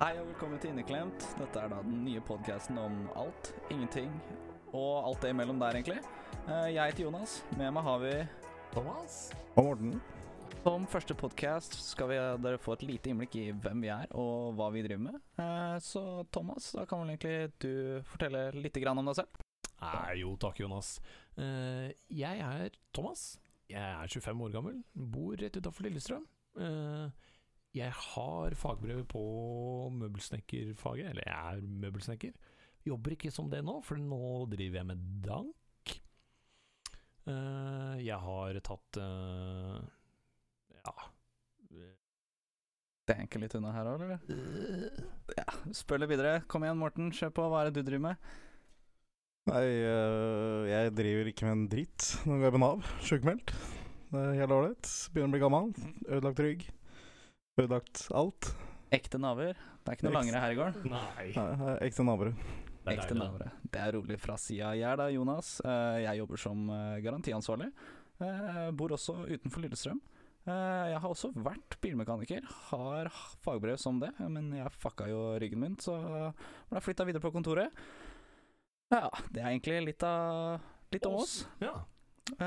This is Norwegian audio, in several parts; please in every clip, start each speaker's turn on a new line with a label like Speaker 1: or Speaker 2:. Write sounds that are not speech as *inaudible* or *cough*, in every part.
Speaker 1: Hei og velkommen til Inneklemt. Dette er da den nye podkasten om alt, ingenting og alt det imellom der, egentlig. Eh, Jeg heter Jonas. Med meg har vi
Speaker 2: Thomas?
Speaker 3: Og Morten.
Speaker 1: Som første podkast skal vi eh, dere få et lite innblikk i hvem vi er og hva vi driver med. Eh, Så Thomas, da kan vel egentlig du fortelle litt grann om deg selv?
Speaker 2: Nei, jo takk, Jonas. Eh, jeg er Thomas. Jeg er 25 år gammel, bor rett utafor Lillestrøm. Eh, jeg har fagbrev på møbelsnekkerfaget, eller jeg er møbelsnekker. Jobber ikke som det nå, for nå driver jeg med dank. Eh, jeg har tatt eh, ja
Speaker 1: Det er egentlig litt unna her òg, eller?
Speaker 2: eh,
Speaker 1: Spør litt videre. Kom igjen, Morten. Kjør på. Hva er det du driver med?
Speaker 3: Nei,
Speaker 1: eh,
Speaker 3: øh, jeg driver ikke med en dritt. Nå går jeg på Nav, sjukmeldt. Det er helt ålreit. Begynner å bli gammel. Ødelagt rygg. Ødelagt alt.
Speaker 1: Ekte naver. Det er ikke noe
Speaker 3: Ekte-
Speaker 1: langere her i gården.
Speaker 2: Nei.
Speaker 3: Nei, jeg er Ekte naboer.
Speaker 2: Det er
Speaker 1: Ekte
Speaker 2: deilig,
Speaker 1: navere. Det er rolig fra sida jeg er da, Jonas. Eh, Jeg jobber som eh, garantiansvarlig. Eh, Bor også utenfor Lillestrøm. Eh, Jeg har også vært bilmekaniker, har h- fagbrev som det, men jeg fucka jo ryggen min, så eh, ble flytta videre på kontoret. Ja, det er egentlig litt av litt om oss.
Speaker 2: Ja.
Speaker 1: Eh,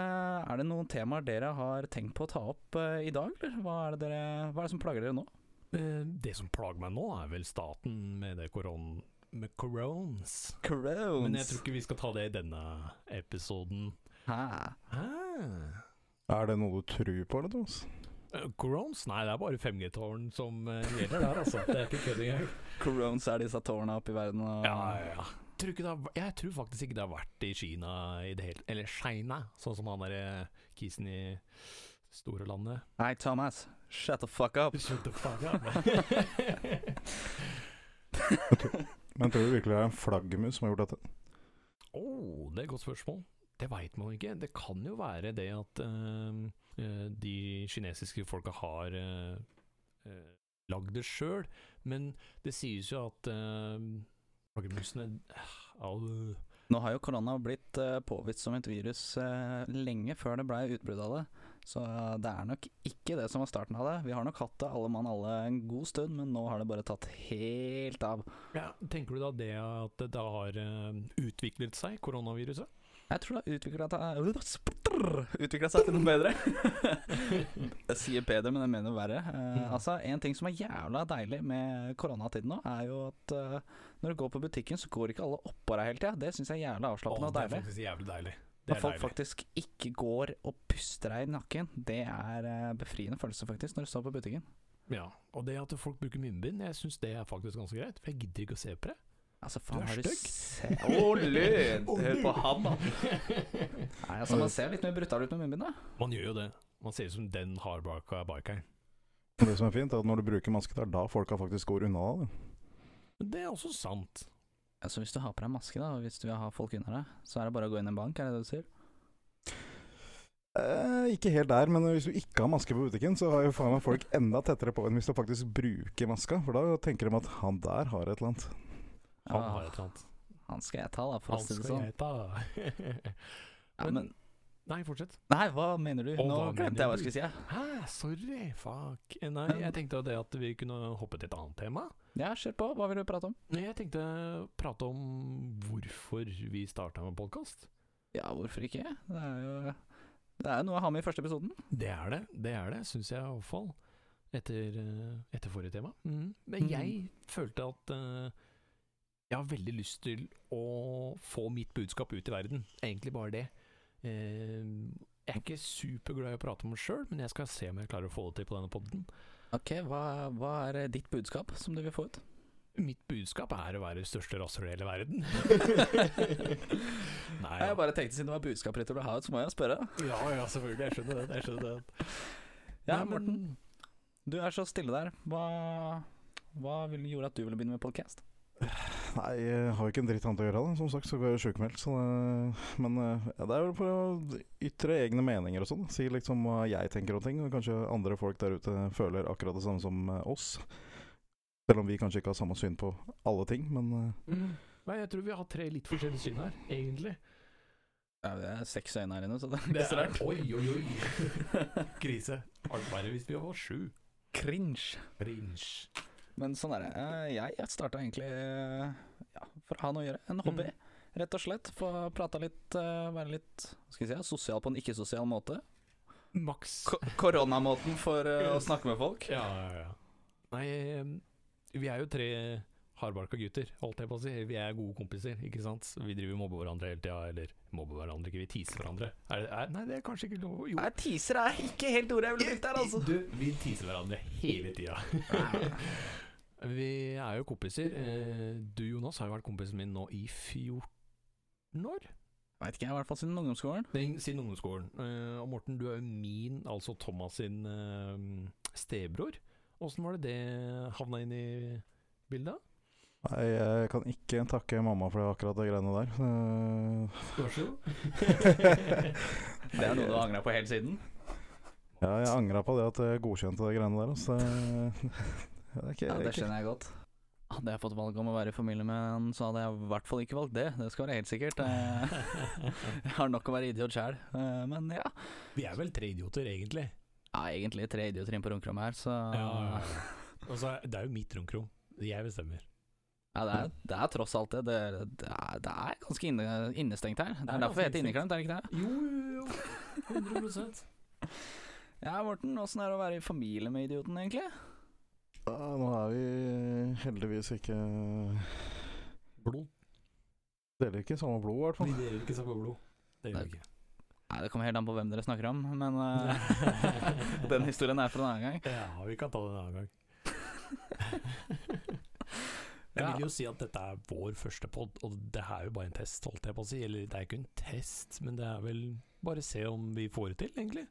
Speaker 1: Er det noen temaer dere har tenkt på å ta opp eh, i dag, eller? Hva er det, dere, hva er det som plager dere nå?
Speaker 2: Eh, det som plager meg nå, er vel staten med det koron... Med corons.
Speaker 1: Crones.
Speaker 2: Men jeg tror ikke vi skal ta det i denne episoden.
Speaker 1: Hæ?
Speaker 3: Er det noe du tror på, eller, Thomas?
Speaker 2: Eh, Corons? Nei, det er bare 5G-tårn som eh, gjelder der, altså. Det er ikke kødd engang.
Speaker 1: Crones er disse tårna oppe i verden og
Speaker 2: *laughs* Ja, ja, ja. Tror ikke det har, jeg tror faktisk ikke det har vært i Kina i det hele Eller China, sånn som han derre kisen i store landet.
Speaker 1: Hei, Thomas. Shut the fuck
Speaker 2: *laughs*
Speaker 1: up.
Speaker 2: Shut the fuck up. *laughs*
Speaker 3: Men tror du virkelig det er en flaggermus som har gjort dette?
Speaker 2: Oh, det er et godt spørsmål. Det veit man ikke. Det kan jo være det at øhm, øh, de kinesiske folka har øh, øh, lagd det sjøl, men det sies jo at øhm, flaggermusene Au.
Speaker 1: Nå har jo korona blitt eh, påvist som et virus eh, lenge før det ble utbrudd av det. Så eh, det er nok ikke det som var starten av det. Vi har nok hatt det alle mann alle en god stund, men nå har det bare tatt helt av.
Speaker 2: Ja, Tenker du da det at det har øhm, utviklet seg, koronaviruset?
Speaker 1: Jeg tror det har utvikla seg *laughs* Utvikla seg til noe
Speaker 2: *laughs*
Speaker 1: bedre. jeg sier bedre, men jeg mener verre. Eh,
Speaker 2: Mm.
Speaker 1: altså, En ting som er jævla deilig med koronatiden nå, er jo at eh, når du går på butikken, så går ikke alle oppå deg hele tida. Det syns jeg er jævla avslappende
Speaker 2: Å,
Speaker 1: og
Speaker 2: det er
Speaker 1: deilig.
Speaker 2: faktisk jævlig deilig. Det
Speaker 1: Når
Speaker 2: er
Speaker 1: folk
Speaker 2: deilig.
Speaker 1: faktisk ikke går og puster deg i nakken, det er eh, befriende følelse, faktisk, når du står på butikken.
Speaker 2: Ja, Og det at folk bruker munnbind, jeg syns det er faktisk ganske greit. For jeg gidder ikke å se på det.
Speaker 1: Altså, faen,
Speaker 2: er
Speaker 1: har du
Speaker 2: stygg.
Speaker 1: sett Å,
Speaker 2: *laughs*
Speaker 1: lyd! Hør på ham, da. Nei, altså, man ser litt mer brutal ut med munnbind, da.
Speaker 2: Man gjør jo det. Man ser ut som den hardbarka bikeren.
Speaker 3: Det som er fint, er at når du bruker maske, det er da folka faktisk går unna deg. da.
Speaker 2: Men det er også sant.
Speaker 1: Altså, hvis du har på deg maske, da, og hvis du vil ha folk under deg, så er det bare å gå inn i en bank, er det det du sier?
Speaker 3: Eh, ikke helt der, men hvis du ikke har maske på butikken, så har jo faen meg folk enda tettere på enn hvis du faktisk bruker maska, for da tenker de at han der har et eller annet.
Speaker 2: Han
Speaker 1: Ja,
Speaker 2: har et eller annet.
Speaker 1: han skal jeg ta, da, Ah, for
Speaker 2: Han
Speaker 1: å si det
Speaker 2: skal
Speaker 1: sånn.
Speaker 2: jeg ta.
Speaker 1: Ja, men,
Speaker 2: *laughs* Nei, fortsett.
Speaker 1: nei, hva mener du?
Speaker 2: Å,
Speaker 1: Nå
Speaker 2: hva
Speaker 1: glemte jeg
Speaker 2: mener
Speaker 1: hva jeg
Speaker 2: du?
Speaker 1: skulle si. jeg.
Speaker 2: Hæ, sorry, fuck. Eh, Nei, jeg tenkte det at vi kunne hoppe til et annet tema.
Speaker 1: Ja, kjør på. Hva vil du prate om?
Speaker 2: Nei, Jeg tenkte prate om hvorfor vi starta med podkast.
Speaker 1: Ja, hvorfor ikke? Det er jo det er jo noe jeg har med i første episoden.
Speaker 2: Det er det, det er det, syns jeg iallfall. Etter, eh, etter forrige tema. Men
Speaker 1: Mm.
Speaker 2: jeg følte at eh, jeg har veldig lyst til å få mitt budskap ut i verden. Egentlig bare det. Eh, jeg er ikke superglad i å prate om det sjøl, men jeg skal se om jeg klarer å få det til på denne podden.
Speaker 1: Ok, hva, hva er eh, ditt budskap som du vil få
Speaker 2: *laughs*
Speaker 1: ut?
Speaker 2: Mitt budskap er å være det største rasshølet i hele *laughs* verden. Nei, ja.
Speaker 1: Jeg bare tenkte siden det var budskapet ditt du ville ha ut, så må jeg spørre.
Speaker 2: ja, ja, selvfølgelig. Jeg skjønner den. Jeg skjønner den.
Speaker 1: Ja,
Speaker 2: Nei, men-
Speaker 1: Morten, du er så stille der. Hva, hva vil- gjorde at du ville begynne med podcast?
Speaker 3: Nei, jeg har jo ikke en dritt annet å gjøre. da Som sagt så går jeg sjukmeldt. Så det, men eh, ja, det er vel for å ytre egne meninger og sånn. Si liksom hva jeg tenker om ting, og kanskje andre folk der ute føler akkurat det samme som eh, oss. Selv om vi kanskje ikke har samme syn på alle ting, men eh,
Speaker 2: mm. Nei, jeg tror vi har tre litt forskjellige syn her, egentlig.
Speaker 1: Ja, det er seks øyne her inne, så det er
Speaker 2: Det
Speaker 1: ikke så
Speaker 2: er-
Speaker 1: rart.
Speaker 2: oi, oi,
Speaker 1: *laughs*
Speaker 2: oi. Krise. Alt verre hvis vi har sju.
Speaker 1: Cringe.
Speaker 2: Cringe.
Speaker 1: Men sånn er det. Eh, Jeg starta egentlig eh, ja, for å ha noe å gjøre. En hobby,
Speaker 2: Mm.
Speaker 1: rett og slett. Få prata litt, eh, være litt hva skal jeg si, sosial på en ikke-sosial måte.
Speaker 2: Maks.
Speaker 1: Ko- Koronamåten for eh, å
Speaker 2: Yes.
Speaker 1: snakke med folk.
Speaker 2: Ja, ja, ja. Nei, eh, vi er jo tre hardbarka gutter, holdt jeg på å si. Vi er gode kompiser, ikke sant. Vi driver og mobber hverandre hele tida, eller mobber hverandre ikke, vi teaser hverandre. Er det, er, nei, det er kanskje ikke lov Jo.
Speaker 1: Nei, teaser er ikke helt ordet jeg ville brukt der, altså.
Speaker 2: Du, vi teaser hverandre hele tida. *laughs* vi er jo kompiser. Eh, Du, Jonas, har jo vært kompisen min nå i 14 år.
Speaker 1: Veit ikke, jeg, i hvert fall siden ungdomsskolen.
Speaker 2: Den- Siden ungdomsskolen. Eh, og Morten, du er jo min, altså Thomas sin, eh, stebror. Åssen var det det havna inn i bildet?
Speaker 3: eh, Nei, jeg kan ikke takke mamma for det akkurat de greiene der. Eh,
Speaker 2: Vær så *laughs* god.
Speaker 1: Det er noe du har angra på helt siden.
Speaker 3: ja, jeg angra på det at jeg godkjente de greiene der. Altså. *laughs* Ja, det er ikke,
Speaker 1: Ja, det
Speaker 3: ikke-
Speaker 1: skjønner jeg godt. Hadde jeg fått valget om å være i familie med en, så hadde jeg i hvert fall ikke valgt det. Det skal være helt sikkert. Eh, *laughs* Jeg har nok å være idiot sjæl. Men ja.
Speaker 2: Vi er vel tre idioter, egentlig.
Speaker 1: ja, egentlig tre idioter inne på romkrommet her, så
Speaker 2: *laughs* Ja, ja, Altså, det er jo mitt romkrom. Jeg bestemmer.
Speaker 1: Ja, det er, det er tross alt det. Det, det, er, det er ganske inne, innestengt her. Det
Speaker 2: Det er
Speaker 1: er derfor vi heter
Speaker 2: ganske
Speaker 1: Inneklemt, er det ikke det?
Speaker 2: Jo, jo, jo. 100
Speaker 1: Ja, Morten, åssen er det å være i familie med idioten, egentlig?
Speaker 3: Ja, nå er vi heldigvis ikke
Speaker 2: Blod.
Speaker 3: Deler ikke samme blod, i hvert
Speaker 2: *laughs* Vi
Speaker 3: fall.
Speaker 2: deler ikke samme blod. Det gjør vi ikke.
Speaker 1: Nei, Det kommer helt an på hvem dere snakker om,
Speaker 2: *laughs*
Speaker 1: men eh, *laughs* den historien er for en annen gang.
Speaker 2: Ja, vi kan ta det en annen gang. *laughs* Jeg
Speaker 1: Ja.
Speaker 2: vil jo si at dette er vår første pod, og det er jo bare en test, holdt jeg på å si. Eller det er ikke en test, men det er vel bare se om vi får det til, egentlig.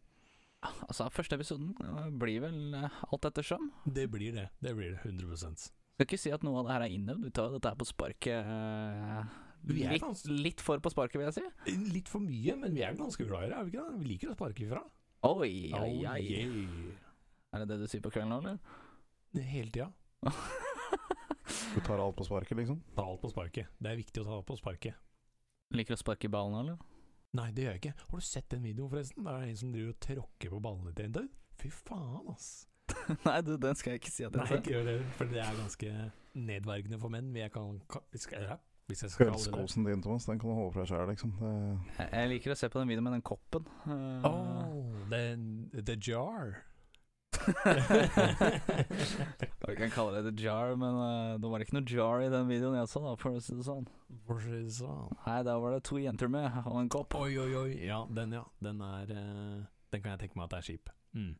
Speaker 1: Altså, Første episoden eh, blir vel eh, alt ettersom.
Speaker 2: Det blir det. Det blir det, 100
Speaker 1: Skal ikke si at noe av det her er innøvd, vi tar jo dette her på sparket. eh,
Speaker 2: Vi er
Speaker 1: litt,
Speaker 2: ganske-
Speaker 1: litt for på sparket, vil jeg si.
Speaker 2: Litt for mye, men vi er ganske glad i det, er vi ikke det? Vi liker å sparke ifra.
Speaker 1: Oi, oi,
Speaker 2: Oh,
Speaker 1: oi.
Speaker 2: yeah.
Speaker 1: Er det det du sier på kvelden nå, eller?
Speaker 2: Hele tida.
Speaker 3: Du tar alt på sparket, liksom.
Speaker 2: Ta alt på sparket. Det er viktig å ta alt på sparket.
Speaker 1: *laughs* Liker å sparke i ballen, eller? *laughs*
Speaker 2: Nei, det gjør jeg ikke. Har du sett den videoen, forresten? Der er det en som driver og tråkker på ballene til en død. Fy faen, ass.
Speaker 1: Nei, du, den skal jeg ikke si at
Speaker 2: Nei,
Speaker 1: jeg
Speaker 2: ikke gjør det, for det er ganske nedverdigende for menn. men Jeg kan, kan hvis jeg- ja, hvis jeg skal kalle det det.
Speaker 3: Kveldskosen din, Thomas, den kan du holde for deg sjæl, liksom. Det
Speaker 1: Jeg, jeg liker å se på den videoen med den koppen. eh, *laughs*
Speaker 2: Oh, the, the jar.
Speaker 1: Vi kan kalle det the jar, men eh, det var ikke noe jar i den videoen jeg så, da, for å si det sånn.
Speaker 2: Hva skal jeg si sånn?
Speaker 1: Nei, der var det to jenter med, og en kopp.
Speaker 2: Oi, oi, oi. Ja, den, ja. Den er eh, Den kan jeg tenke meg at det er skip. Mm.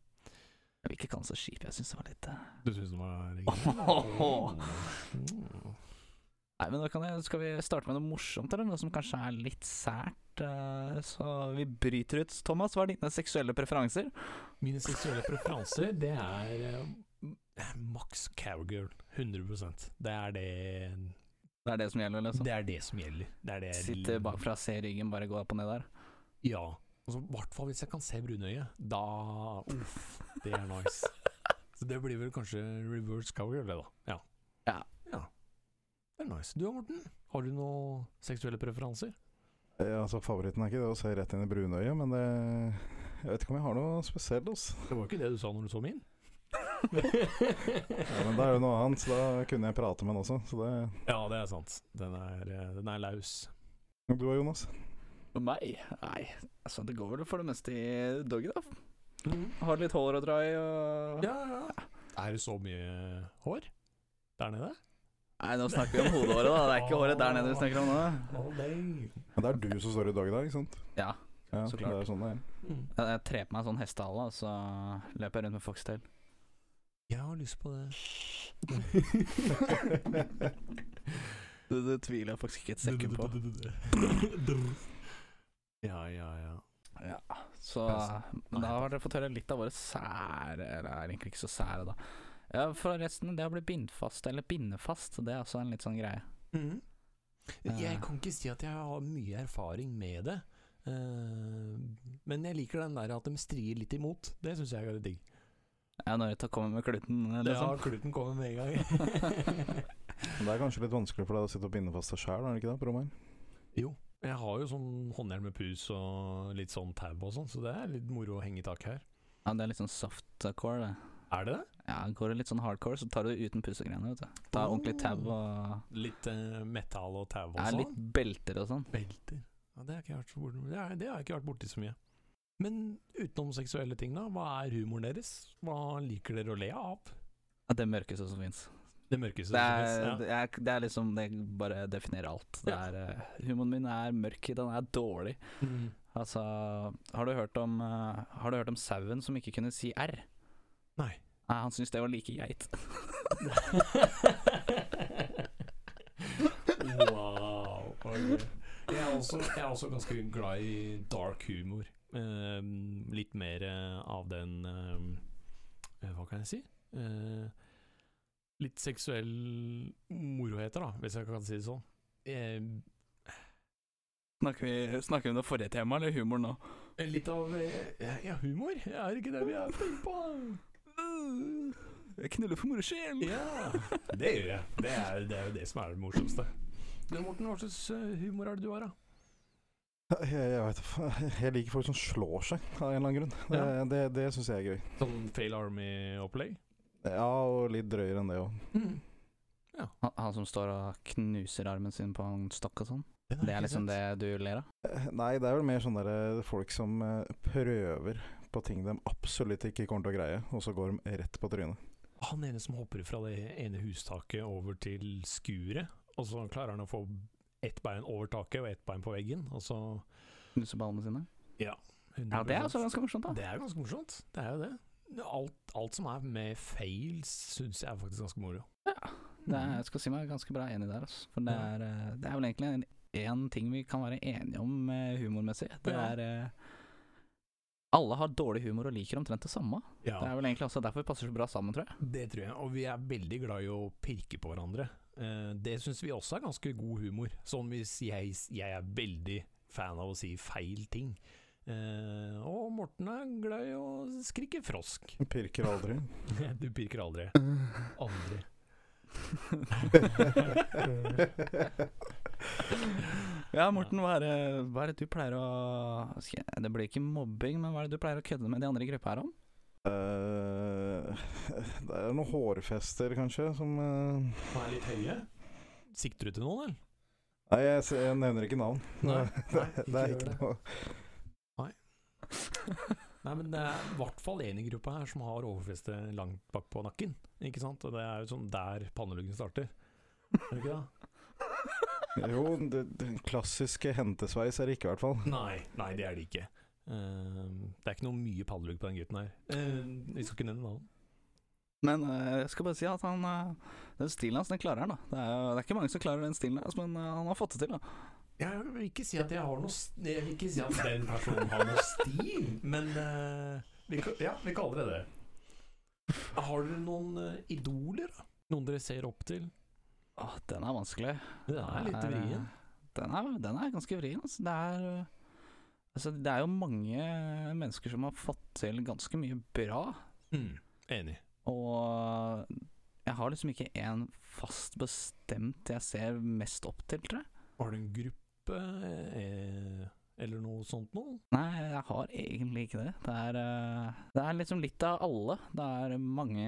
Speaker 1: Jeg vil ikke kalle det så skip, jeg syns det var litt eh.
Speaker 2: Du syns den var
Speaker 1: Ohoho.
Speaker 2: Mm.
Speaker 1: Nei, men da kan jeg, skal vi starte med noe morsomt, eller noe som kanskje er litt sært? eh, så vi bryter ut. Thomas, hva er dine seksuelle preferanser?
Speaker 2: Mine seksuelle preferanser, det er eh, Max Cowgirl. 100 Det er det
Speaker 1: Det er det som gjelder, liksom?
Speaker 2: Det er det som gjelder. Det er det jeg
Speaker 1: Sitte bakfra, se ryggen, bare gå opp og ned der.
Speaker 2: Ja. Altså, I hvert fall hvis jeg kan se brunøyet. Da Uff, det er
Speaker 3: *laughs*
Speaker 2: nice. Så det blir vel kanskje reverse cowgirl, det, da. Ja.
Speaker 1: Ja.
Speaker 2: ja. Det er nice. Du da, Morten? Har du noen seksuelle preferanser?
Speaker 3: Ja, altså Favoritten er ikke det å se rett inn i brunøyet, men det Jeg vet ikke om jeg har noe spesielt. ass.
Speaker 2: Det var jo ikke det du sa når du så min.
Speaker 3: Ja, men da er det noe annet, så da kunne jeg prate med han også. Så det
Speaker 2: Ja, det er sant. Den er, eh, den er laus.
Speaker 3: Du og Jonas?
Speaker 1: For meg? Nei, altså det går vel for det meste i doggy, da. Har litt hår å dra i og
Speaker 2: Mm. Ja, ja. Er det så mye hår der nede?
Speaker 1: Nei, nå snakker vi om hodehåret, da. Det er ikke håret der nede vi snakker om nå.
Speaker 2: Oh, dang.
Speaker 3: Men det er du som står i dag i dag, ikke sant?
Speaker 1: Ja.
Speaker 3: Ja,
Speaker 1: Så klart.
Speaker 3: Det er sånn det er.
Speaker 2: Mm.
Speaker 1: Jeg, jeg trer på meg sånn hestehale, og så løper jeg rundt med foxtail.
Speaker 2: Jeg har lyst på det. *laughs*
Speaker 1: Det, tviler jeg faktisk ikke et sekund på.
Speaker 2: Ja, ja, ja.
Speaker 1: Ja, så men Da har dere fått høre litt av våre sære Eller er egentlig ikke så sære, da. Ja, Forresten, det å bli bindfast, eller bindefast, det er også en litt sånn greie.
Speaker 2: Mm.
Speaker 1: Eh.
Speaker 2: Jeg kan ikke si at jeg har mye erfaring med det. Eh, men jeg liker den der at de strier litt imot. Det syns jeg er litt digg.
Speaker 1: Ja, når du kommer med kluten, liksom. *laughs*
Speaker 2: sånn kluten kommer med en gang.
Speaker 3: Men det er kanskje litt vanskelig for deg å sitte og binde fast deg sjæl, er det ikke det? på rommet her?
Speaker 2: jo, jeg har jo sånn håndjern med pus og litt sånn tau og sånn, så det er litt moro å henge i tak her.
Speaker 1: Ja, det er litt sånn softcore, det.
Speaker 2: Er det det?
Speaker 1: Ja, Går du litt sånn hardcore, så tar du uten pussegreiene. vet du Tar ordentlig tau og
Speaker 2: Litt eh, metall og tau og
Speaker 1: er
Speaker 2: sånn?
Speaker 1: litt belter og sånn.
Speaker 2: Belter. Ja, det, har ikke jeg vært så borti, det, er, det har jeg ikke vært borti så mye. Men utenom seksuelle ting, da, hva er humoren deres? Hva liker dere å le av?
Speaker 1: Ja, Det mørkeste som fins.
Speaker 2: Det mørkeste
Speaker 1: Det,
Speaker 2: som
Speaker 1: er-
Speaker 2: finnes,
Speaker 1: det, er- det er liksom Det bare definerer alt. Det
Speaker 2: Ja.
Speaker 1: er, eh, humoren min er mørk, den er dårlig.
Speaker 2: ja. Mm.
Speaker 1: Altså, har du hørt om eh, Har du hørt om sauen som ikke kunne si R?
Speaker 2: Nei.
Speaker 1: Nei, han syntes det var like geit.
Speaker 2: wow. ok. Jeg, er også, jeg er også ganske glad i dark humor. Eh, litt mer eh, av den eh, eh, Hva kan jeg si? Eh, litt seksuell moroheter, da, hvis jeg kan si det sånn. Eh,
Speaker 1: Snakker vi, snakker vi om det forrige temaet, eller humor nå?
Speaker 2: litt av eh, ja, humor. Er det ikke det vi har tenkt på?
Speaker 1: Jeg knuller for moro skyld!
Speaker 2: Ja, det gjør jeg. Det er, det er jo det som er det morsomste. Men Morten, hva slags eh, humor er det du har, da?
Speaker 3: *laughs* Jeg, jeg, vet, faen. *laughs* jeg liker folk som slår seg, av en eller annen grunn. Det,
Speaker 2: Ja.
Speaker 3: det, det syns jeg er gøy.
Speaker 2: Sånn Fail Army-opplegg?
Speaker 3: Ja, og litt drøyere enn det òg.
Speaker 2: Mm.
Speaker 1: Han, han som står og knuser armen sin på en stokk og sånn.
Speaker 2: Den har
Speaker 1: Det
Speaker 2: jeg
Speaker 1: er
Speaker 2: ikke
Speaker 1: liksom
Speaker 2: sett.
Speaker 1: det du ler av?
Speaker 3: Eh, Nei, det er vel mer sånn derre folk som eh, prøver på ting de absolutt ikke kommer til å greie, og så går de rett på trynet.
Speaker 2: Han ene som hopper fra det ene hustaket over til skuret, og så klarer han å få ett bein over taket og ett bein på veggen, og så
Speaker 1: Knuser ballene sine?
Speaker 2: 100%.
Speaker 1: Ja, det er altså- også ganske morsomt, da.
Speaker 2: Det er jo ganske morsomt. Det er jo det. Alt, alt som er med fails, syns jeg er faktisk ganske moro.
Speaker 1: Ja, det er, jeg skal si meg ganske bra enig der, altså. For det
Speaker 2: Ja.
Speaker 1: er, eh, det er vel egentlig en- én ting vi kan være enige om eh, humormessig. Det
Speaker 2: Ja.
Speaker 1: er eh, Alle har dårlig humor og liker omtrent det samme.
Speaker 2: Ja,
Speaker 1: Det er vel egentlig også derfor vi passer så bra sammen, tror jeg.
Speaker 2: det tror jeg. Og vi er veldig glad i å pirke på hverandre. Eh, det syns vi også er ganske god humor. Sånn hvis jeg, jeg er veldig fan av å si feil ting. Eh, og Morten er glad i å skrike frosk. *laughs*
Speaker 3: Pirker aldri.
Speaker 2: Du pirker aldri. Aldri.
Speaker 3: Eh,
Speaker 1: *laughs* Ja, Morten, hva er, det- hva er det du pleier å skal jeg- Det blir ikke mobbing, men hva er det du pleier å kødde med de andre i gruppa her om?
Speaker 3: Eh, det er noen hårfester, kanskje, som eh,
Speaker 2: Han er litt høye. Sikter du til noen, eller?
Speaker 3: Nei, jeg, s- jeg nevner ikke navn.
Speaker 2: *laughs* Nei,
Speaker 3: det,
Speaker 2: nei,
Speaker 3: det er
Speaker 2: ikke
Speaker 3: ikke
Speaker 2: gjør det.
Speaker 3: noe
Speaker 2: Nei, men det er i hvert fall én i gruppa her som har overfeste langt bak på nakken. Ikke sant? Og det er jo sånn der panneluggen starter. Er det ikke det?
Speaker 3: Jo, det, den klassiske hentesveis er det ikke, i hvert fall.
Speaker 2: Nei, nei, det er det ikke. Eh, det er ikke noe mye pannelugg på den gutten her. Eh, vi skal ikke nevne navn.
Speaker 1: Men eh, jeg skal bare si at han eh, den stilen hans, den klarer han, da. Det er, jo- det er ikke mange som klarer den stilen hans, men eh, han har fått det til, da.
Speaker 2: Jeg vil ikke si at jeg har noe s- Jeg vil ikke si at den personen har noe stil, men eh, vi, ka- Ja, vi kaller det det. Har dere noen eh, idoler, da? Noen dere ser opp til?
Speaker 1: Åh, den er vanskelig.
Speaker 2: Det er litt
Speaker 1: Den er, eh,
Speaker 2: vrien.
Speaker 1: Den er, den er ganske vrien, altså. Det er eh, Altså, det er jo mange mennesker som har fått til ganske mye bra,
Speaker 2: Mm, enig.
Speaker 1: og jeg har liksom ikke en fast bestemt jeg ser mest opp til, tror jeg.
Speaker 2: Har du en gruppe eh, eller noe sånt noe?
Speaker 1: Nei, jeg har egentlig ikke det. Det er, eh, det er liksom litt av alle. Det er mange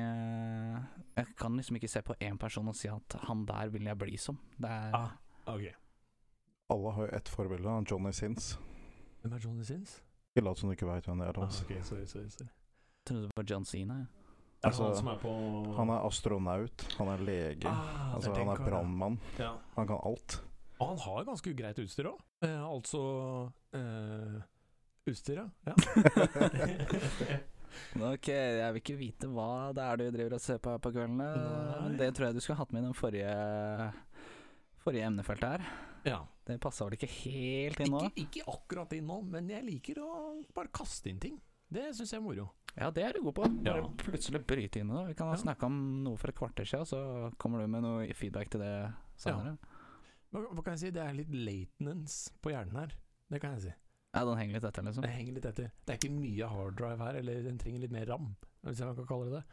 Speaker 1: Jeg kan liksom ikke se på én person og si at 'han der vil jeg bli som'. Det er
Speaker 2: Ah. Ok.
Speaker 3: Alle har jo ett forbilde, han Johnny Sins.
Speaker 2: Hvem er Johnny Sins?
Speaker 3: Ikke lat som du ikke veit hvem det er.
Speaker 2: Ah,
Speaker 3: Thomas.
Speaker 2: ok, sorry, sorry, sorry.
Speaker 1: Trodde det var John Cena. jeg.
Speaker 2: Er det
Speaker 3: Altså,
Speaker 2: han som er på
Speaker 3: Han er astronaut, han er lege,
Speaker 2: ah,
Speaker 3: altså,
Speaker 2: det
Speaker 3: han
Speaker 2: den
Speaker 3: er
Speaker 2: karen, ja.
Speaker 3: brannmann.
Speaker 2: Ja.
Speaker 3: Han kan alt.
Speaker 2: Og han har ganske greit utstyr òg. Eh, altså eh, Utstyr, ja. ja.
Speaker 1: Ok, jeg vil ikke vite hva det er du driver og ser på her på kveldene.
Speaker 2: Nei.
Speaker 1: Det tror jeg du skulle hatt med i den forrige, forrige emnefeltet her.
Speaker 2: ja.
Speaker 1: Det passa vel ikke helt inn
Speaker 2: Ikke,
Speaker 1: nå?
Speaker 2: ikke akkurat inn nå, men jeg liker å bare kaste inn ting. Det syns jeg er moro.
Speaker 1: Ja, det er du god på. Bare
Speaker 2: Ja.
Speaker 1: plutselig bryte inn i det. Vi kan ha
Speaker 2: Ja.
Speaker 1: snakka om noe for et kvarter siden, så kommer du med noe feedback til det senere.
Speaker 2: Hva, hva kan jeg si? Det er litt latenance på hjernen her. Det kan jeg si.
Speaker 1: Ja, den henger litt etter, liksom.
Speaker 2: Det henger litt etter. Det er ikke mye harddrive her, eller den trenger litt mer ram, hvis jeg kan kalle det det.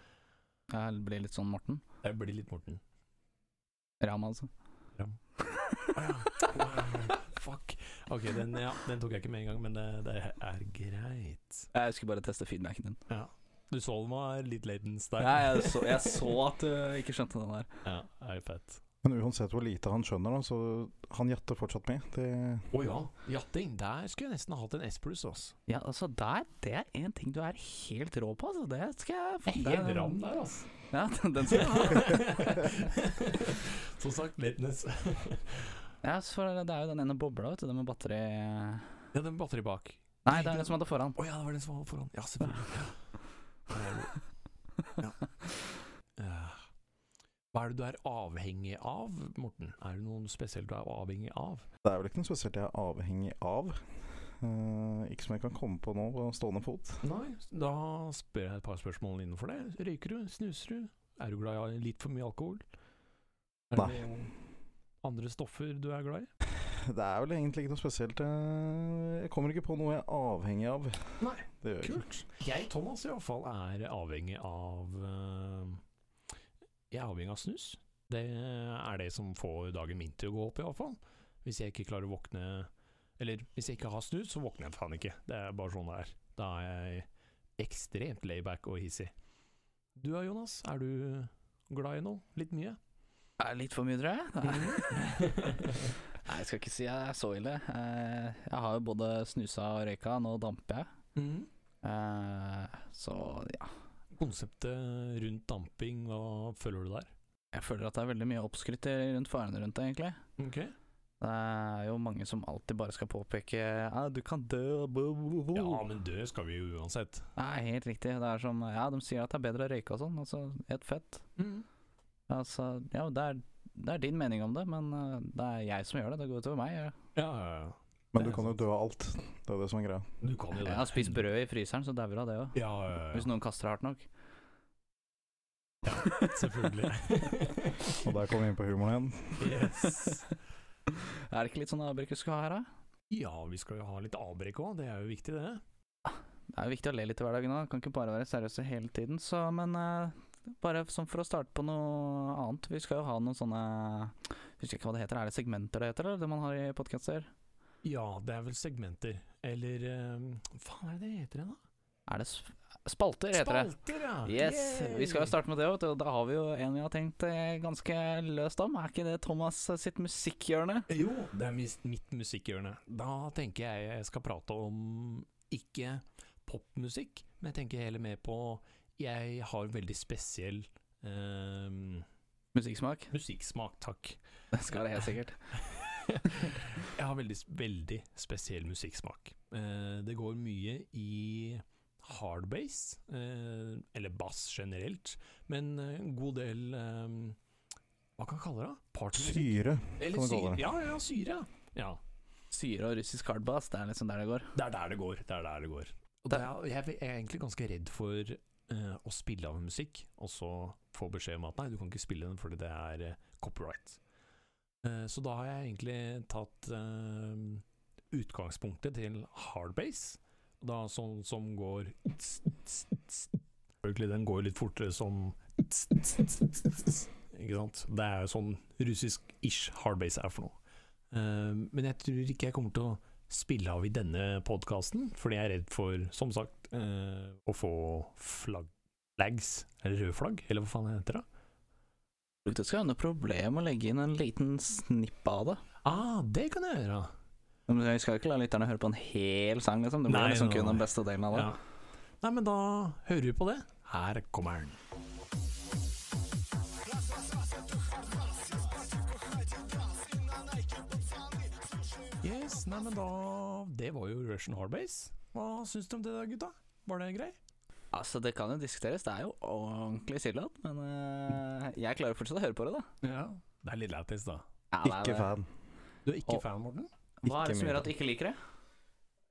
Speaker 1: Jeg blir litt sånn Morten.
Speaker 2: Det blir
Speaker 1: *laughs*
Speaker 2: litt Morten. *laughs*
Speaker 1: Ram, altså. *laughs*
Speaker 2: Å ja. Wow. Fuck. Ok, den, ja, den tok jeg ikke med en gang, men det, det er greit.
Speaker 1: Jeg skulle bare teste feedbacken din.
Speaker 2: Ja. Du så den var litt latent der.
Speaker 1: Nei, jeg, så, jeg så at du ikke skjønte den der.
Speaker 2: *laughs* Ja, er jo fett.
Speaker 3: Men uansett hvor lite han skjønner, da, så han jatter fortsatt med. Det,
Speaker 2: Å ja, jatting. Der skulle jeg nesten ha hatt en S-pluss, altså.
Speaker 1: Ja, altså, der, det er en ting du er helt rå på, altså. Det skal jeg faen-
Speaker 2: Helt
Speaker 1: det-
Speaker 2: ram der, *laughs* altså.
Speaker 1: Ja, den, den skal jeg ha.
Speaker 2: Som sagt, lateness.
Speaker 1: *laughs* Ja, så for det er jo den ene bobla, vet du, den med batteri
Speaker 2: *laughs* Ja, den batteri bak.
Speaker 1: Nei, det er den som hadde foran.
Speaker 2: Å ja, det var den som var foran. Ja, selvfølgelig. Ja. Eh, Hva er det du er avhengig av, Morten? Er det noen spesielt du er avhengig av?
Speaker 3: det er vel ikke noe spesielt jeg er avhengig av. Eh, ikke som jeg kan komme på nå på stående fot.
Speaker 2: Nei. Da spør jeg et par spørsmål innenfor det. Røyker du? Snuser du? Er du glad i litt for mye alkohol? Er
Speaker 3: Nei.
Speaker 2: det noen andre stoffer du er glad i?
Speaker 3: Det er vel egentlig ikke noe spesielt. eh, Jeg kommer ikke på noe jeg er avhengig av.
Speaker 2: Nei,
Speaker 3: Det gjør jeg ikke.
Speaker 2: Kult. Jeg, Thomas, i hvert fall er avhengig av eh, Jeg er avhengig av snus. Det er det som får dagen min til å gå opp, i hvert fall. Hvis jeg ikke klarer å våkne Eller hvis jeg ikke har snus, så våkner jeg faen ikke. Det er bare sånn det er. Da er jeg ekstremt layback og hissig. Du da, Jonas? Er du glad i noe? Litt mye?
Speaker 1: Er det litt for mye, tror jeg. *laughs* Nei. Nei, jeg skal ikke si jeg er så ille. Eh, Jeg har jo både snusa og røyka, nå damper jeg.
Speaker 2: Mm.
Speaker 1: Eh, Så ja,
Speaker 2: Konseptet rundt damping, hva føler du der?
Speaker 1: jeg føler at det er veldig mye oppskrytt i- rundt farene rundt det, egentlig.
Speaker 2: Ok
Speaker 1: Det er jo mange som alltid bare skal påpeke Ja, du kan dø og bo, bo, bo.
Speaker 2: Ja, men dø skal vi jo uansett.
Speaker 1: Nei, helt riktig. Det er som Ja, de sier at det er bedre å røyke og sånn. Altså, helt fett. Altså, ja, det er, det er din mening om det, men eh, det er jeg som gjør det. Det går utover meg. Jeg
Speaker 2: Ja, ja, ja.
Speaker 3: Men
Speaker 2: Det
Speaker 3: du
Speaker 2: er
Speaker 3: kan jo dø av alt. Det er jo det som er greia.
Speaker 2: Du kan jo Sånn det.
Speaker 1: Jeg har spist brød i fryseren, så dauer av det òg.
Speaker 2: Ja, ja, ja.
Speaker 1: Hvis noen kaster det hardt nok.
Speaker 2: Selvfølgelig.
Speaker 1: *laughs*
Speaker 3: Og der kommer vi inn på humoren igjen.
Speaker 2: yes.
Speaker 1: Er det ikke litt sånn avbrekk vi skal ha her, da?
Speaker 2: Ja, vi skal jo ha litt avbrekk òg, det er jo viktig, det.
Speaker 1: Det er jo viktig å le litt i hverdagen òg. Kan ikke bare være seriøse hele tiden. Så, men eh, bare sånn for å starte på noe annet. Vi skal jo ha noen sånne Husker ikke hva det heter. Er det segmenter det heter, eller? Det man har i podkaster?
Speaker 2: Ja, det er vel segmenter. Eller ehm, Hva faen er det det heter igjen, da?
Speaker 1: Er det sp spalter, heter det.
Speaker 2: Spalter, ja!
Speaker 1: Yes.
Speaker 2: Yay!
Speaker 1: Vi skal jo starte med det, vet du. og Da har vi jo en vi har tenkt eh, ganske løst om. Er ikke det Thomas eh, sitt musikkhjørne?
Speaker 2: Jo, det er mis- mitt musikkhjørne. Da tenker jeg jeg skal prate om ikke popmusikk, men jeg tenker heller mer på Jeg har en veldig spesiell ehm,
Speaker 1: Musikksmak?
Speaker 2: musikksmak, takk.
Speaker 1: *laughs* Det skal være helt sikkert.
Speaker 2: Jeg har veldig, veldig spesiell musikksmak. Eh, det går mye i hard bass, eh, eller bass generelt, men eh, en god del eh, Hva kan man kalle det? da? Partymusikk?
Speaker 3: Syre.
Speaker 2: Eller
Speaker 3: man kalle
Speaker 2: syre.
Speaker 3: det.
Speaker 2: Ja, ja, syre. ja. Ja,
Speaker 1: Syre og russisk hardbass, det er liksom der det går.
Speaker 2: det er der det går. Det er der det går. Og det er, jeg er egentlig ganske redd for eh, å spille av musikk, og så få beskjed om at nei, du kan ikke spille den fordi det er eh, copyright. Eh, så da har jeg egentlig tatt eh, utgangspunktet til hardbase, da sånn som går Selvfølgelig, den går litt fortere som Ikke sant? Det er jo sånn russisk-ish hardbase er for noe. Eh, men jeg tror ikke jeg kommer til å spille av i denne podkasten, fordi jeg er redd for, som sagt, eh, å få flagg, flags, eller røde flagg, eller hva faen heter det?
Speaker 1: Det skal være noe problem å legge inn en liten snipp av det.
Speaker 2: Ah, det kan jeg gjøre!
Speaker 1: Men Vi skal jo ikke la lytterne høre på en hel sang, liksom. Det blir
Speaker 2: Nei,
Speaker 1: liksom
Speaker 2: nei,
Speaker 1: kun
Speaker 2: nei.
Speaker 1: den beste delen av det.
Speaker 2: Ja. Nei, men da hører vi på det. Her kommer den. Yes, nei, men da Det var jo Russian Hardbase. Hva syns du om det, da, gutta? Var det grei?
Speaker 1: Altså, det kan jo diskuteres. Det er jo ordentlig sildete, men eh, jeg klarer fortsatt å høre på det, da.
Speaker 2: Ja. Det er litt lættis, da.
Speaker 1: Ja, det er
Speaker 3: Ikke
Speaker 1: det.
Speaker 3: fan.
Speaker 2: Du er ikke
Speaker 1: Og-
Speaker 2: fan, Morten?
Speaker 1: Hva er det
Speaker 3: Ikke
Speaker 1: som
Speaker 3: mye
Speaker 1: gjør at du ikke liker det?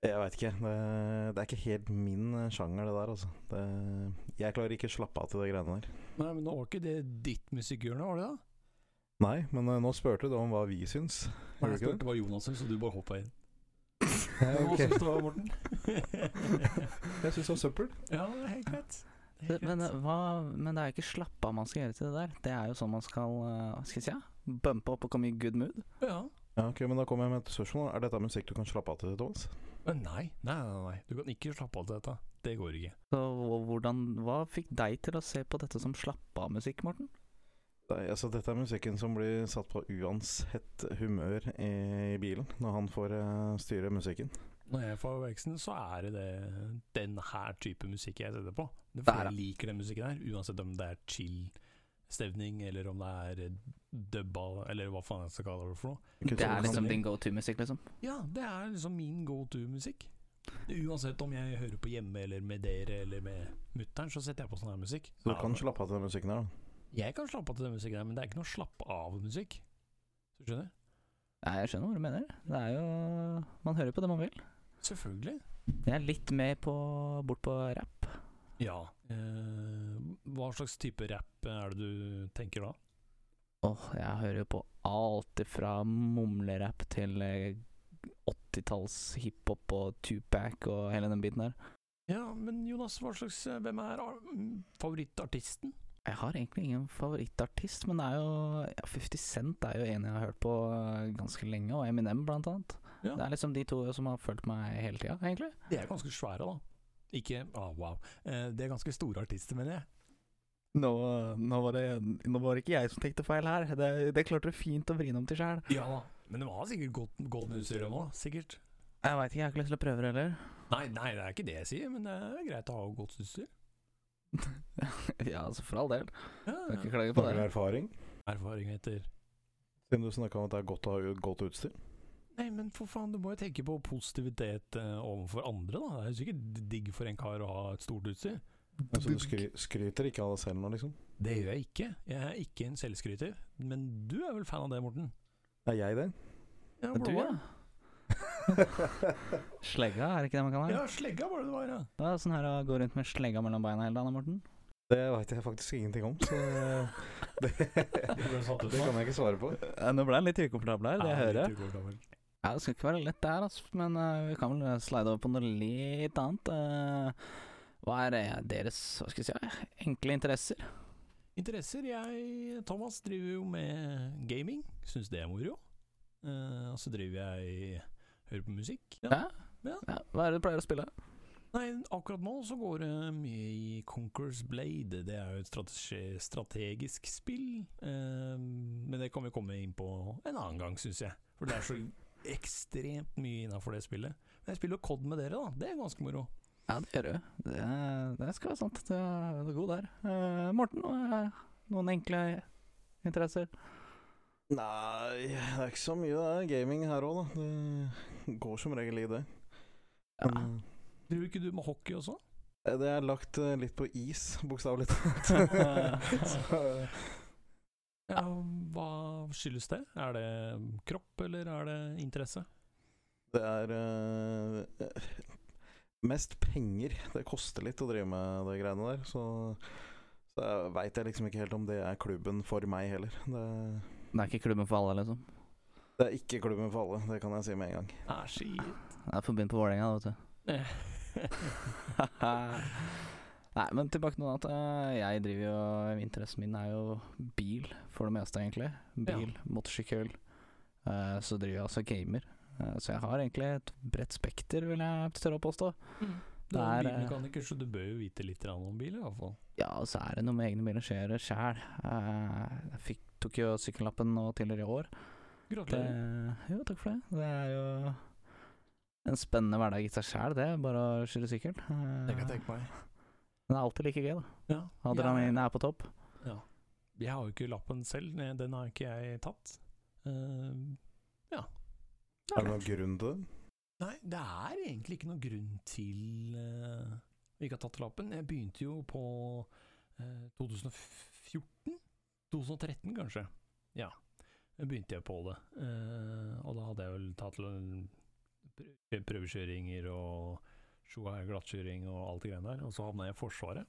Speaker 3: Jeg veit ikke. Det, det er ikke helt min eh, sjanger, det der, altså. Det, jeg klarer ikke slappe av til de greiene der.
Speaker 2: Nei, men det var ikke det ditt musikkhjørne, var det da?
Speaker 3: Nei, men eh, nå spurte du om hva vi syns. Gjorde du ikke det?
Speaker 2: hva Jonas syns, så du bare hoppa inn.
Speaker 3: Ja,
Speaker 2: *laughs*
Speaker 3: ok.
Speaker 2: syns du var, Morten?
Speaker 3: Jeg syns det var søppel.
Speaker 2: ja, det er helt greit. Det er helt
Speaker 1: Men,
Speaker 2: greit.
Speaker 1: eh, hva, men det er jo ikke slappe av man skal gjøre til det der. Det er jo sånn man skal eh, Hva skal jeg si? ja? Bumpe opp og komme i good mood.
Speaker 2: Ja,
Speaker 3: Ja, ok, men Da kommer jeg med et spørsmål. Er dette musikk du kan slappe av til, Thomas?
Speaker 2: Men nei, nei, nei, nei. Du kan ikke slappe av til dette. Det går ikke.
Speaker 1: Så hva- hvordan, hva fikk deg til å se på dette som slappe av musikk, Morten?
Speaker 3: Nei, altså Dette er musikken som blir satt på uansett humør i bilen når han får eh, styre musikken.
Speaker 2: Når jeg får veksten, så er det, det den her type musikk jeg setter på. Det er
Speaker 1: Der,
Speaker 2: fordi
Speaker 1: ja.
Speaker 2: jeg liker den musikken her, uansett om det er chill-stevning, eller om det er eh, dubba, eller hva faen jeg skal kalle det for noe.
Speaker 3: Ikke
Speaker 1: Det
Speaker 3: sant?
Speaker 1: er
Speaker 3: Du kan-
Speaker 1: liksom din go to-musikk, liksom?
Speaker 2: Ja, det er liksom min go to-musikk. Uansett om jeg hører på hjemme, eller med dere, eller med mutter'n, så setter jeg på sånn her musikk.
Speaker 3: Du
Speaker 2: Ja,
Speaker 3: kan slappe av til den musikken her, da.
Speaker 2: Jeg kan slappe av til den musikken her, men det er ikke noe slapp av-musikk. Du skjønner?
Speaker 1: Nei, jeg skjønner hva du mener. Det er jo Man hører på det man vil.
Speaker 2: Selvfølgelig.
Speaker 1: Jeg er litt med på bort på rapp.
Speaker 2: Ja. Eh, hva slags type rapp er det du tenker da?
Speaker 1: Åh, jeg hører jo på alt ifra mumlerapp til eh, 80-talls hiphop og Tupac og hele den biten der.
Speaker 2: Ja, men Jonas, hva slags, eh, hvem er ar- mm, favorittartisten?
Speaker 1: Jeg har egentlig ingen favorittartist, men det er jo ja, 50 Cent er jo en jeg har hørt på eh, ganske lenge, og Eminem blant annet.
Speaker 2: Ja.
Speaker 1: Det er liksom de to som har fulgt meg hele tida, egentlig.
Speaker 2: De er ganske svære, da. Ikke ah, wow. Eh, de er ganske store artister, mener jeg.
Speaker 1: Nå, var, det, ikke jeg som tenkte feil her, det, klarte du fint å vrine om til sjæl.
Speaker 2: Ja da. Men de har sikkert godt, godt med utstyr nå, sikkert.
Speaker 1: Jeg veit ikke, jeg har ikke lyst til å prøve det heller.
Speaker 2: Nei, nei, det er ikke det jeg sier, men det er greit å ha godt utstyr.
Speaker 1: *laughs* ja, altså for all del,
Speaker 2: Ja,
Speaker 1: kan
Speaker 2: ja.
Speaker 1: ikke klage på
Speaker 3: Snakker du
Speaker 1: det.
Speaker 3: erfaring?
Speaker 2: Erfaring heter
Speaker 3: Siden du snakka om at det er godt å ha godt utstyr.
Speaker 2: Nei, men for faen, du må jo tenke på positivitet eh, overfor andre, da. Det er jo sikkert digg for en kar å ha et stort utstyr.
Speaker 3: Altså, du skry skryter ikke av deg selv nå, liksom?
Speaker 2: Det gjør jeg ikke. Jeg er ikke en selvskryter. Men du er vel fan av det, Morten?
Speaker 3: Er jeg det?
Speaker 2: Ja,
Speaker 1: Men Du, ja. Slegga, er det ikke det man kan ha?
Speaker 2: Ja, slegga var det det var, ja.
Speaker 1: Det er sånn her å gå rundt med slegga mellom beina hele dagen, Morten.
Speaker 3: *laughs* Det veit jeg faktisk ingenting om, så *laughs*
Speaker 1: *laughs*
Speaker 3: det,
Speaker 2: Du ble satt ut
Speaker 3: det
Speaker 2: nå.
Speaker 3: kan jeg ikke svare på.
Speaker 1: Eh, Nå ble jeg litt ukomfortabel her, det jeg hører.
Speaker 2: litt ukomfortabel.
Speaker 1: Ja, det skal ikke være lett der, altså, men eh, vi kan vel eh, slide over på noe litt annet. eh. hva er eh, deres hva skal jeg si, eh, enkle interesser?
Speaker 2: Interesser? Jeg, Thomas, driver jo med gaming. Syns det er moro. Eh, og så driver jeg hører på musikk. Ja.
Speaker 1: Ja.
Speaker 2: Ja.
Speaker 1: Ja, hva er det du pleier å spille?
Speaker 2: Nei, akkurat nå så går det mye i Conquerors Blade. Det er jo et strategi, strategisk spill. Eh, men det kan vi komme inn på en annen gang, syns jeg. For det er så ekstremt mye innafor det spillet. Men jeg spiller jo COD med dere, da. Det er ganske moro.
Speaker 1: Ja, det gjør du. Det, er- det skal være sant. Du er, du er god der. Eh, Morten, hva er noen enkle interesser?
Speaker 3: Nei, det er ikke så mye det er gaming her òg, da. Det går som regel i det.
Speaker 1: Ja.
Speaker 3: Men,
Speaker 2: Driver ikke du med hockey også?
Speaker 3: eh, det er lagt eh, litt på is, bokstavelig
Speaker 2: *laughs*
Speaker 3: talt. *laughs* så, eh,
Speaker 2: Ja, hva skyldes det? Er det kropp, eller er det interesse?
Speaker 3: det er eh, eh, mest penger. Det koster litt å drive med de greiene der, så, så jeg veit jeg liksom ikke helt om det er klubben for meg heller. Det,
Speaker 1: Det er ikke klubben for alle, liksom.
Speaker 3: det er ikke klubben for alle, det kan jeg si med en gang.
Speaker 2: Ah, *laughs* shit.
Speaker 1: Det er forbundet på Vålerenga, vet du. *laughs* Nei, men tilbake til noe annet. Eh, Jeg driver jo Interessen min er jo bil, for det meste, egentlig. Bil, motorsykkel. Eh, Så driver jeg altså gamer. Eh, Så jeg har egentlig et bredt spekter, vil jeg tørre å påstå.
Speaker 2: Du er
Speaker 1: Det er, eh,
Speaker 2: bilmekaniker, så du bør jo vite litt grann om bil, i hvert fall.
Speaker 1: Ja, og så er det noe med egne biler skjer sjæl. Eh, Jeg fikk, tok jo sykkellappen nå tidligere i år. Det,
Speaker 2: Gratulerer.
Speaker 1: jo, takk for det. Det er jo en spennende hverdag i seg sjæl, det. Bare å kjøre sykkel. Eh,
Speaker 2: tenke meg.
Speaker 1: Men det er alltid like gøy, da.
Speaker 2: Ja.
Speaker 1: Adrenalinet er på topp.
Speaker 2: Ja, ja. Jeg har jo ikke lappen selv, ne- den har ikke jeg tatt. Eh,
Speaker 3: Er det noen grunn til det?
Speaker 2: nei, det er egentlig ikke noen grunn til eh, å ikke ha tatt lappen. Jeg begynte jo på eh, 2014? 2013, kanskje. Ja. Da begynte jeg på det. Eh, og da hadde jeg vel tatt l- prø- prøvekjøringer og sjua- glattkjøring og alt det greiene der. Og så havna jeg i Forsvaret.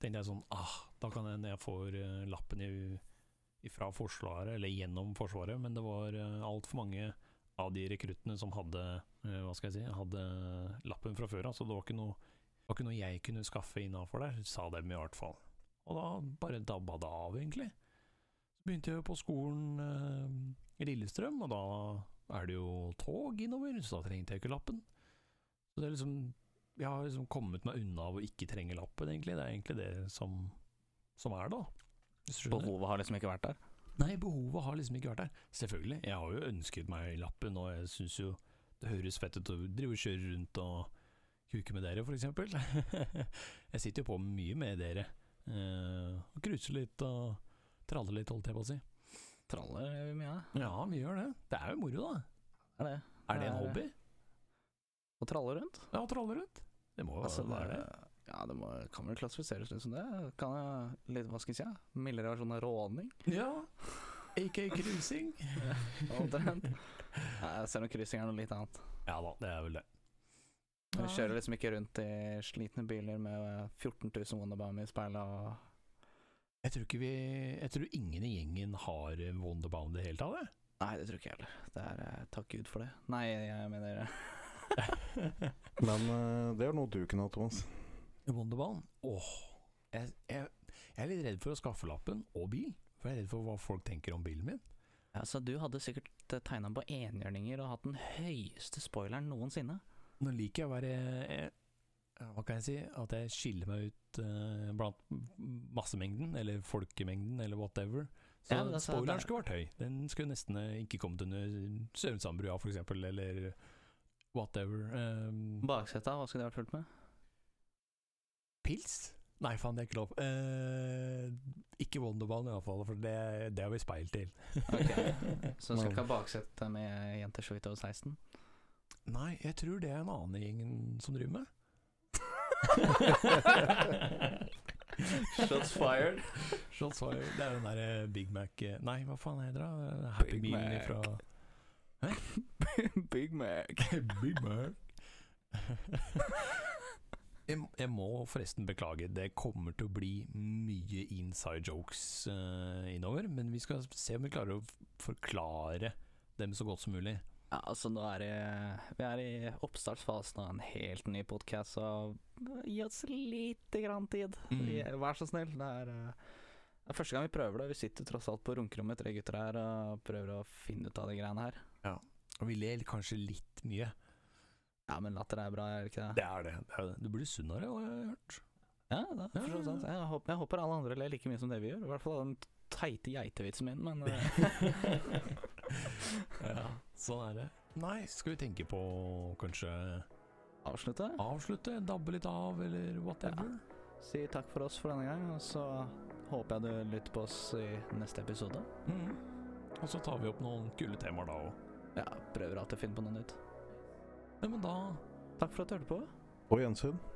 Speaker 2: tenkte jeg sånn ah, da kan jeg, når jeg får eh, lappen i, fra Forsvaret, eller gjennom Forsvaret, men det var eh, altfor mange av de rekruttene som hadde eh, hva skal jeg si, hadde lappen fra før av, så det var ikke noe, det var ikke noe jeg kunne skaffe innafor der, sa dem i hvert fall. Og da bare dabba det av, egentlig. Så begynte jeg på skolen eh, i Lillestrøm, og da er det jo tog innover, så da trengte jeg ikke lappen. Så det er liksom Jeg har liksom kommet meg unna av å ikke trenge lappen, egentlig. Det er egentlig det som, som er, da. Hvis du skjønner?
Speaker 1: Behovet har liksom ikke vært der.
Speaker 2: Nei, behovet har liksom ikke vært der. Selvfølgelig, jeg har jo ønsket meg lappen, og jeg syns jo det høres fett ut å drive og kjøre rundt og kuke med dere, for eksempel. *laughs* jeg sitter jo på mye med dere. eh, og cruiser litt og traller litt, holdt jeg på å si.
Speaker 1: Traller mye,
Speaker 2: Ja, vi gjør det. Det er jo moro, da.
Speaker 1: er det.
Speaker 2: Er det en
Speaker 1: Det er-
Speaker 2: hobby?
Speaker 1: Å tralle rundt?
Speaker 2: Ja, å tralle rundt. Det må jo
Speaker 1: Altså,
Speaker 2: være det.
Speaker 1: Ja, det må, kan vel klassifiseres litt som det. Kan jeg, litt, hva skal jeg si, ja? mildere versjon av råning.
Speaker 2: Ja. Ikke cruising.
Speaker 1: *laughs* Omtrent. Nei, jeg ser om kryssing er noe litt annet.
Speaker 2: Ja da, det er vel det.
Speaker 1: Du kjører liksom ikke rundt i slitne biler med 14 000 Wonderbaum i speilet og
Speaker 2: Jeg tror, ikke vi, jeg tror ingen i gjengen har eh, Wonderbound i det hele tatt. jeg.
Speaker 1: Nei, det tror ikke jeg heller. Det er, eh, takk Gud for det. Nei, jeg mener *laughs*
Speaker 3: Men eh, det er noe du kunne hatt, Thomas.
Speaker 2: Wonderbanen? Åh, jeg, jeg, jeg er litt redd for å skaffe lappen og bil. For jeg er redd for hva folk tenker om bilen min.
Speaker 1: Altså, du hadde sikkert tegna på enhjørninger og hatt den høyeste spoileren noensinne.
Speaker 2: Nå liker jeg å være jeg, Hva kan jeg si? At jeg skiller meg ut eh, blant massemengden, eller folkemengden, eller whatever. Så
Speaker 1: Ja, men altså,
Speaker 2: spoileren
Speaker 1: det-
Speaker 2: skulle vært høy. Den skulle nesten eh, ikke kommet under Sørumsandbrua, for eksempel, eller whatever. Eh,
Speaker 1: Bakseta, hva skulle det vært fullt med?
Speaker 2: pils? Nei, faen, det er ikke lov. Eh, ikke Wonderbanen iallfall, for det, det har vi speil til.
Speaker 1: Ok. Så
Speaker 2: *laughs*
Speaker 1: du skal ikke ha baksete med jenter så vidt over 16? *laughs*
Speaker 2: Nei, jeg tror det er en annen gjeng enn som driver med.
Speaker 1: Shots fired.
Speaker 2: Shots fired. Det er den derre Big Mac eh, Nei, hva faen heter det? da? Eh, Happy
Speaker 1: Big
Speaker 2: Meal
Speaker 1: Mac.
Speaker 2: fra
Speaker 1: *laughs* *laughs* Big Mac.
Speaker 2: Big Mac. jeg, jeg må forresten beklage. Det kommer til å bli mye inside jokes eh, innover. Men vi skal se om vi klarer å f- forklare dem så godt som mulig.
Speaker 1: Ja, altså, nå er det Vi er i oppstartsfasen av en helt ny podkast, så gi oss lite grann tid.
Speaker 2: Mm.
Speaker 1: Vær så snill. Det er eh, det er første gang vi prøver det. Vi sitter tross alt på runkerommet, tre gutter her, og prøver å finne ut av de greiene her.
Speaker 2: Og vi ler kanskje litt mye.
Speaker 1: Ja, men latter er bra, er det ikke det?
Speaker 2: Det er det. det, er det. Du blir sunnere, har jeg *laughs* hørt.
Speaker 1: Ja, det er for så vidt sant. Jeg, håper, jeg håper alle andre ler like mye som det vi gjør. I hvert fall av den teite geitevitsen min, men eh,
Speaker 2: *laughs* ja, sånn er det. Nei, skal vi tenke på kanskje
Speaker 1: avslutte.
Speaker 2: avslutte, dabbe litt av, eller whatever?
Speaker 1: Si takk for oss for denne gang, og så håper jeg du lytter på oss i neste episode.
Speaker 2: Mhm. Og så tar vi opp noen kule temaer da òg.
Speaker 1: Ja, prøver alltid å finne på noe nytt.
Speaker 2: Ja, men da
Speaker 1: Takk for at du hørte på.
Speaker 3: På gjensyn.